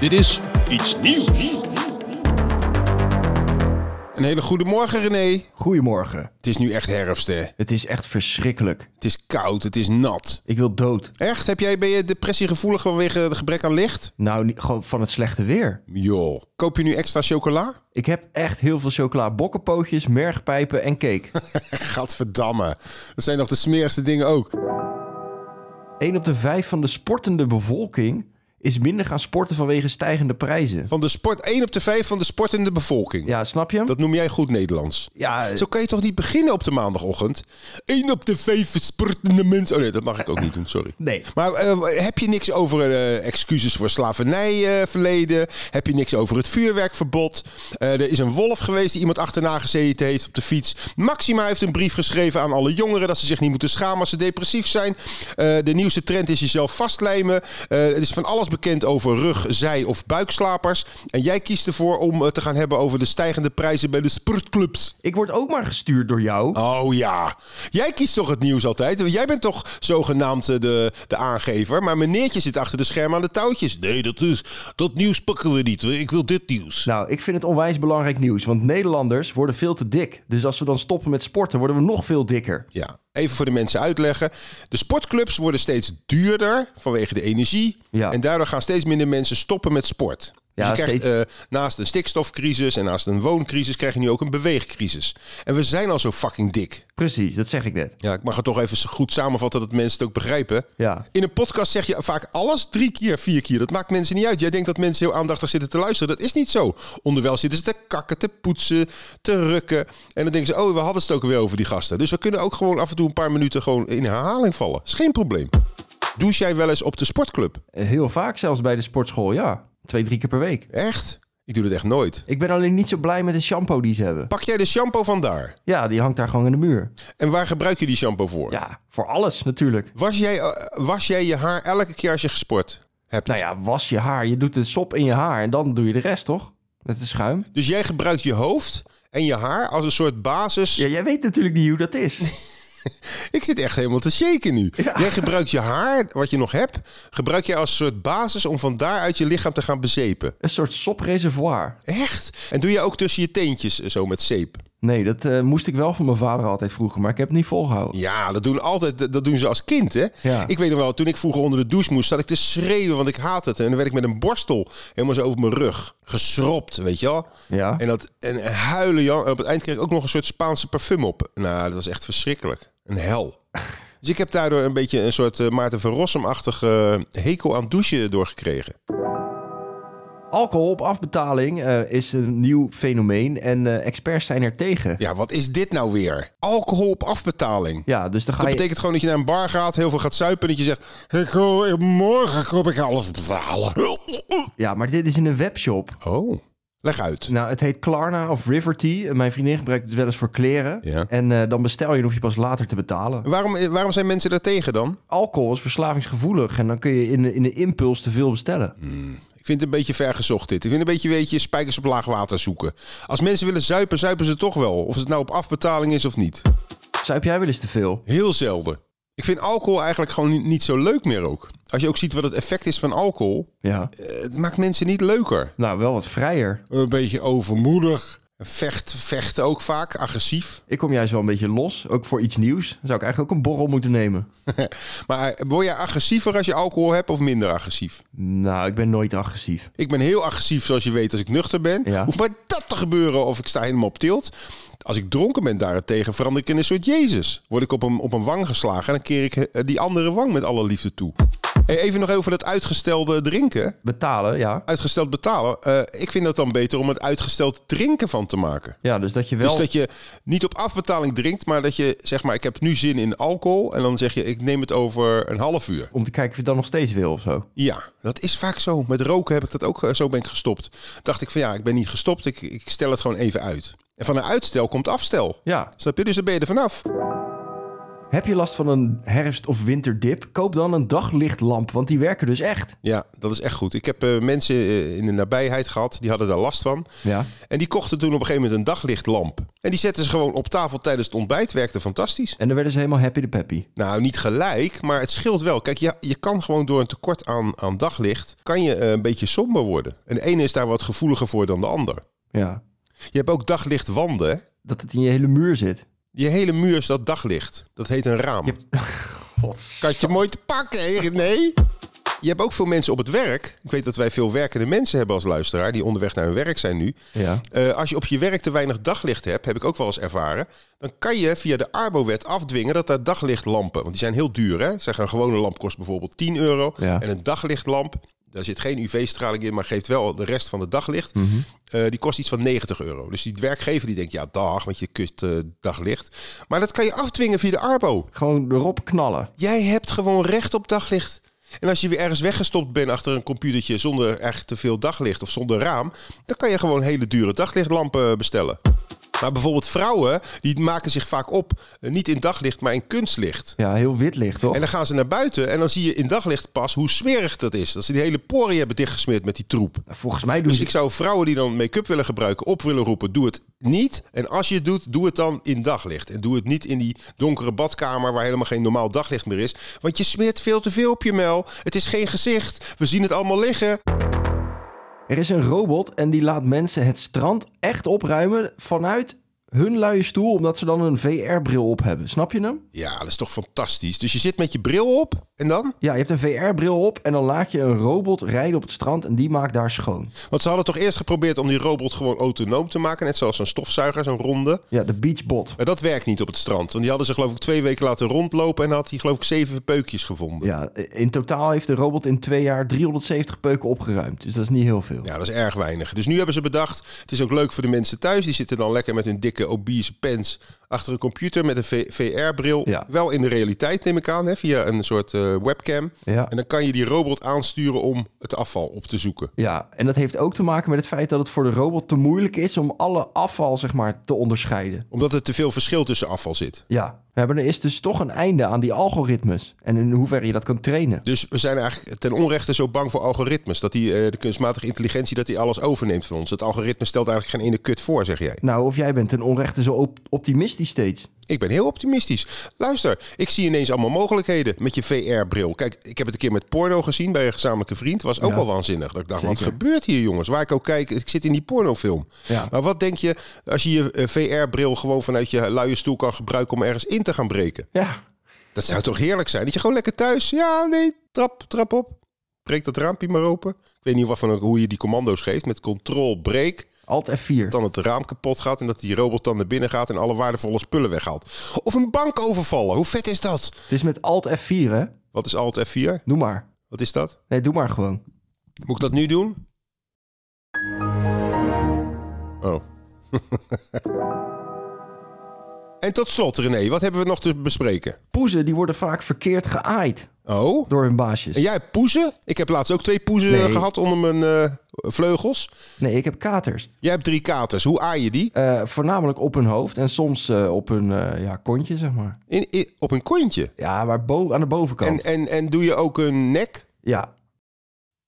Dit is iets nieuws. Een hele goede morgen, René. Goedemorgen. Het is nu echt herfst, hè? Het is echt verschrikkelijk. Het is koud, het is nat. Ik wil dood. Echt? Heb jij, ben je depressiegevoelig vanwege het gebrek aan licht? Nou, niet- gewoon van het slechte weer. Joh. Koop je nu extra chocola? Ik heb echt heel veel chocola. Bokkenpootjes, mergpijpen en cake. Gadverdamme. Dat zijn nog de smerigste dingen ook. Eén op de vijf van de sportende bevolking is minder gaan sporten vanwege stijgende prijzen. Van de sport, 1 op de 5 van de sportende bevolking. Ja, snap je hem? Dat noem jij goed Nederlands. Ja, eh. Zo kan je toch niet beginnen op de maandagochtend? 1 op de 5 sportende mensen. Oh nee, dat mag ik ook niet doen, sorry. nee. Maar eh, heb je niks over eh, excuses voor slavernijverleden? heb je niks over het vuurwerkverbod? Eh, er is een wolf geweest die iemand achterna gezeten heeft op de fiets. Maxima heeft een brief geschreven aan alle jongeren dat ze zich niet moeten schamen als ze depressief zijn. Eh, de nieuwste trend is jezelf vastlijmen. Eh, het is van alles bekend over rug, zij of buikslapers. En jij kiest ervoor om het te gaan hebben over de stijgende prijzen bij de sportclubs. Ik word ook maar gestuurd door jou. Oh ja. Jij kiest toch het nieuws altijd? Jij bent toch zogenaamd eh, de, de aangever. Maar meneertje zit achter de schermen aan de touwtjes. Nee, dat, is, dat nieuws pakken we niet. Ik wil dit nieuws. Nou, ik vind het onwijs belangrijk nieuws, want Nederlanders worden veel te dik. Dus als we dan stoppen met sporten, worden we nog veel dikker. Ja, even voor de mensen uitleggen. De sportclubs worden steeds duurder vanwege de energie. Ja. En daardoor gaan steeds minder mensen stoppen met sport. Dus Ja, je krijgt eh, naast een stikstofcrisis en naast een wooncrisis... krijg je nu ook een beweegcrisis. En we zijn al zo fucking dik. Precies, dat zeg ik net. Ja, ik mag het toch even zo goed samenvatten dat mensen het ook begrijpen. Ja. In een podcast zeg je vaak alles drie keer, vier keer. Dat maakt mensen niet uit. Jij denkt dat mensen heel aandachtig zitten te luisteren. Dat is niet zo. Onderwijl zitten ze te kakken, te poetsen, te rukken. En dan denken ze, oh, we hadden het ook weer over die gasten. Dus we kunnen ook gewoon af en toe een paar minuten gewoon in herhaling vallen. Is geen probleem. Douche jij wel eens op de sportclub? Heel vaak zelfs bij de sportschool, ja. Twee, drie keer per week. Echt? Ik doe dat echt nooit. Ik ben alleen niet zo blij met de shampoo die ze hebben. Pak jij de shampoo vandaar? Ja, die hangt daar gewoon in de muur. En waar gebruik je die shampoo voor? Ja, voor alles natuurlijk. Was, jij, eh, was jij je haar elke keer als je gesport hebt? Nou ja, was je haar. Je doet de sop in je haar en dan doe je de rest, toch? Met de schuim. Dus jij gebruikt je hoofd en je haar als een soort basis. Ja, jij weet natuurlijk niet hoe dat is. Ik zit echt helemaal te shaken nu. Jij gebruikt je haar, wat je nog hebt, gebruik jij als soort basis om van daaruit je lichaam te gaan bezepen. Een soort sopreservoir. Echt? En doe je ook tussen je teentjes eh, zo met zeep? Nee, dat eh, moest ik wel van mijn vader altijd vroeger, maar ik heb het niet volgehouden. Ja, dat doen, altijd, dat doen ze als kind, hè? Ja. Ik weet nog wel, toen ik vroeger onder de douche moest, zat ik te schreeuwen, want ik haat het. En dan werd ik met een borstel helemaal zo over mijn rug geschropt, weet je wel? Ja. En, dat, en en huilen, Jan. En op het eind kreeg ik ook nog een soort Spaanse parfum op. Nou, dat was echt verschrikkelijk. Een hel. Dus ik heb daardoor een beetje een soort eh, Maarten van Rossum-achtige eh, hekel aan douchen doorgekregen. Alcohol op afbetaling eh, is een nieuw fenomeen en eh, experts zijn er tegen. Ja, Ja, wat is dit nou weer? Alcohol op afbetaling. dus dan ga Dat je... betekent gewoon dat je naar een bar gaat, heel veel gaat zuipen en dat je zegt... Ik, wil- morgen kom ik alles betalen. Ja, maar dit is in een webshop. Oh, leg uit. Nou, het heet Klarna of Riverty. Mijn vriendin gebruikt het wel eens voor kleren. Ja. En eh, dan bestel je en hoef je pas later te betalen. Waarom, eh, waarom zijn mensen daar tegen dan? alcohol is verslavingsgevoelig en dan kun je in, de- in de impuls te veel bestellen. Ik vind het een beetje vergezocht dit. Ik vind het een beetje, weet je, spijkers op laag water zoeken. Als mensen willen zuipen, zuipen ze toch wel. Of het nou op afbetaling is of niet. Zuip jij wel eens te veel? Heel zelden. Ik vind alcohol eigenlijk gewoon niet, niet zo leuk meer ook. Als je ook ziet wat het effect is van alcohol, Ja. eh, het maakt mensen niet leuker. Nou, wel wat vrijer. Een beetje overmoedig Vecht, vechten ook vaak, agressief. Ik kom juist wel een beetje los. Ook voor iets nieuws zou ik eigenlijk ook een borrel moeten nemen. Maar word je agressiever als je alcohol hebt of minder agressief? Nou, ik ben nooit agressief. Ik ben heel agressief, zoals je weet, als ik nuchter ben. Ja. Hoeft maar dat te gebeuren of ik sta helemaal op tilt. Als ik dronken ben daarentegen, verander ik in een soort Jezus. Word ik op een, op een wang geslagen en dan keer ik eh, die andere wang met alle liefde toe. Hey, even nog over dat uitgestelde drinken. Betalen, ja. Uitgesteld betalen. Eh, ik vind dat dan beter om het uitgesteld drinken van te maken. Ja, dus dat je wel... Dus dat je niet op afbetaling drinkt, maar dat je zeg maar, ik heb nu zin in alcohol. En dan zeg je, ik neem het over een half uur. Om te kijken of je het dan nog steeds wil of zo. Ja, dat is vaak zo. Met roken heb ik dat ook, eh, zo ben ik gestopt. Dacht ik van ja, ik ben niet gestopt, ik, ik stel het gewoon even uit. En van een uitstel komt afstel. Ja. Snap je? Dus dan ben je er vanaf. Heb je last van een herfst- of winterdip? Koop dan een daglichtlamp, want die werken dus echt. Ja, dat is echt goed. Ik heb eh, mensen eh, in de nabijheid gehad, die hadden daar last van. Ja. En die kochten toen op een gegeven moment een daglichtlamp. En die zetten ze gewoon op tafel tijdens het ontbijt. Werkte fantastisch. En dan werden ze helemaal happy de peppy. Nou, niet gelijk, maar het scheelt wel. Kijk, ja, je kan gewoon door een tekort aan, aan daglicht... kan je eh, een beetje somber worden. En de ene is daar wat gevoeliger voor dan de ander. Ja. Je hebt ook daglichtwanden, hè? Dat het in je hele muur zit. Je hele muur is dat daglicht. Dat heet een raam. Je hebt... Gods. Kan het je mooi te pakken, hè, René? Je hebt ook veel mensen op het werk. Ik weet dat wij veel werkende mensen hebben als luisteraar... die onderweg naar hun werk zijn nu. Ja. Eh, als je op je werk te weinig daglicht hebt, heb ik ook wel eens ervaren... dan kan je via de Arbowet afdwingen dat daar daglichtlampen... want die zijn heel duur, hè? Zeg, een gewone lamp kost bijvoorbeeld 10 euro. Ja. En een daglichtlamp, daar zit geen UV-straling in... maar geeft wel de rest van het daglicht. eh, die kost iets van 90 euro. Dus die werkgever die denkt, ja, dag, want je kust eh, daglicht. Maar dat kan je afdwingen via de Arbo. Gewoon erop knallen. Jij hebt gewoon recht op daglicht. En als je weer ergens weggestopt bent achter een computertje zonder echt te veel daglicht of zonder raam, dan kan je gewoon hele dure daglichtlampen eh, bestellen. Maar bijvoorbeeld vrouwen, die maken zich vaak op, eh, niet in daglicht, maar in kunstlicht. Ja, heel wit licht, toch? En dan gaan ze naar buiten en dan zie je in daglicht pas hoe smerig dat is. Dat ze die hele poriën hebben dichtgesmeerd met die troep. Nou, Volgens mij doen Dus ze... ik zou vrouwen die dan make-up willen gebruiken op willen roepen, doe het niet. En als je het doet, doe het dan in daglicht. En doe het niet in die donkere badkamer waar helemaal geen normaal daglicht meer is. Want je smeert veel te veel op je mel. Het is geen gezicht. We zien het allemaal liggen. Er is een robot en die laat mensen het strand echt opruimen vanuit hun luie stoel, omdat ze dan een VR-bril op hebben. Snap je hem? Ja, dat is toch fantastisch. Dus je zit met je bril op en dan? Ja, je hebt een VR-bril op en dan laat je een robot rijden op het strand en die maakt daar schoon. Want ze hadden toch eerst geprobeerd om die robot gewoon autonoom te maken. Net zoals zo'n stofzuiger, zo'n ronde. Ja, de beachbot. Maar dat werkt niet op het strand. Want die hadden ze geloof ik twee weken laten rondlopen en had hij geloof ik zeven peukjes gevonden. Ja, in totaal heeft de robot in twee jaar 370 peuken opgeruimd. Dus dat is niet heel veel. Ja, dat is erg weinig. Dus nu hebben ze bedacht, het is ook leuk voor de mensen thuis. Die zitten dan lekker met hun dikke obese pens achter een computer met een VR-bril. Ja. Wel in de realiteit neem ik aan, hè, via een soort eh, webcam. Ja. En dan kan je die robot aansturen om het afval op te zoeken. Ja, en dat heeft ook te maken met het feit dat het voor de robot te moeilijk is om alle afval zeg maar, te onderscheiden. Omdat er te veel verschil tussen afval zit. Ja, we hebben er is dus toch een einde aan die algoritmes en in hoeverre je dat kan trainen. Dus we zijn eigenlijk ten onrechte zo bang voor algoritmes. Dat die, eh, de kunstmatige intelligentie, dat die alles overneemt van ons. Het algoritme stelt eigenlijk geen ene kut voor, zeg jij. Nou, of jij bent ten onrechte zo op- optimistisch steeds. Ik ben heel optimistisch. Luister, ik zie ineens allemaal mogelijkheden met je VR-bril. Kijk, ik heb het een keer met porno gezien bij een gezamenlijke vriend. Was ook Ja. wel waanzinnig. Dat ik dacht, wat Zeker. gebeurt hier, jongens? Waar ik ook kijk, ik zit in die pornofilm. Ja. Maar wat denk je als je je eh, VR-bril gewoon vanuit je luie stoel kan gebruiken om ergens in te gaan breken? Ja, Dat zou toch heerlijk zijn? Dat je gewoon lekker thuis, ja, nee, trap, trap op. Breek dat raampje maar open. Ik weet niet wat van, hoe je die commando's geeft. Met control, break Alt F4. dan het raam kapot gaat en dat die robot dan naar binnen gaat en alle waardevolle spullen weghaalt. Of een bank overvallen. Hoe vet is dat? Het is met Alt F4, hè? Wat is Alt F4? Doe maar. Wat is dat? Nee, doe maar gewoon. Moet ik dat nu doen? Oh. en tot slot, René, wat hebben we nog te bespreken? Poezen die worden vaak verkeerd geaaid Oh. door hun baasjes. En jij hebt poezen? Ik heb laatst ook twee poezen Nee. eh, gehad onder mijn eh, vleugels. Nee, ik heb katers. Jij hebt drie katers. Hoe aai je die? Eh, voornamelijk op hun hoofd en soms eh, op hun eh, ja, kontje, zeg maar. In, in- op een kontje. Ja, maar bo- aan de En, bovenkant. en, en doe je ook een nek? Ja,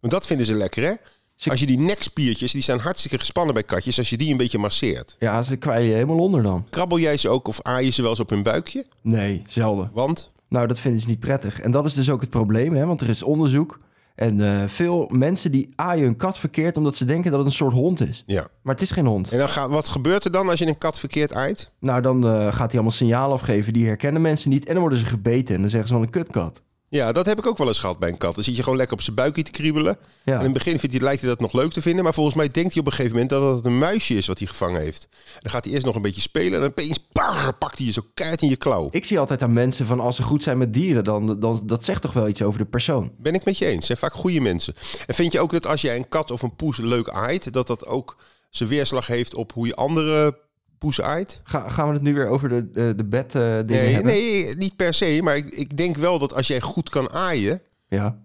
Want dat vinden ze lekker, hè? Ze- Als je die nekspiertjes, die zijn hartstikke gespannen bij katjes, als je die een beetje masseert. ja, ze kwijlen je helemaal onder dan. Krabbel jij ze ook of aai je ze wel eens op hun buikje? Nee, zelden. Want Nou, dat vinden ze niet prettig. En dat is dus ook het probleem, hè? want er is onderzoek. En eh, veel mensen die aaien hun kat verkeerd omdat ze denken dat het een soort hond is. Ja. Maar het is geen hond. En dan gaat, wat gebeurt er dan als je een kat verkeerd aait? Nou, dan eh, gaat hij allemaal signalen afgeven. Die herkennen mensen niet. En dan worden ze gebeten. En dan zeggen ze van een kutkat. Ja, dat heb ik ook wel eens gehad bij een kat. Dan zit je gewoon lekker op zijn buikje te kriebelen. En Ja. in het begin vindt hij, lijkt hij dat nog leuk te vinden. Maar volgens mij denkt hij op een gegeven moment dat het een muisje is wat hij gevangen heeft. Dan gaat hij eerst nog een beetje spelen. En opeens parr, pakt hij je zo keihard in je klauw. Ik zie altijd aan mensen van als ze goed zijn met dieren, dan, dan dat zegt toch wel iets over de persoon. Ben ik met je eens. Het zijn vaak goede mensen. En vind je ook dat als jij een kat of een poes leuk aait, dat dat ook zijn weerslag heeft op hoe je andere poes aait? Ga, gaan we het nu weer over de, de, de bed eh, dingen Nee, hebben? nee, niet per se. Maar ik, ik denk wel dat als jij goed kan aaien, Ja.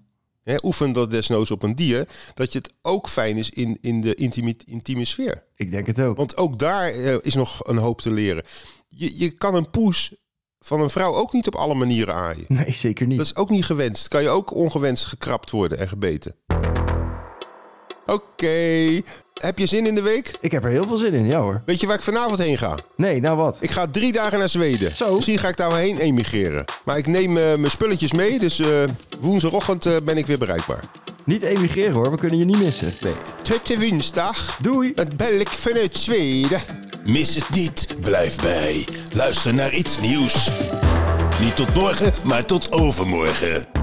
hè, oefen dat desnoods op een dier, dat je het ook fijn is in, in de intieme, intieme sfeer. Ik denk het ook. Want ook daar eh, is nog een hoop te leren. Je, je kan een poes van een vrouw ook niet op alle manieren aaien. Nee, zeker niet. Dat is ook niet gewenst. Kan je ook ongewenst gekrapt worden en gebeten. Oké. Heb je zin in de week? Ik heb er heel veel zin in, ja hoor. Weet je waar ik vanavond heen ga? Nee, nou wat? Ik ga drie dagen naar Zweden. Zo. Misschien ga ik daar wel heen emigreren. Maar ik neem eh, mijn spulletjes mee, dus eh, woensdagochtend eh, ben ik weer bereikbaar. Niet emigreren hoor, we kunnen je niet missen. Nee. Tweede woensdag. Doei! Dat bel ik vanuit Zweden. Mis het niet, blijf bij. Luister naar iets nieuws. Niet tot morgen, maar tot overmorgen.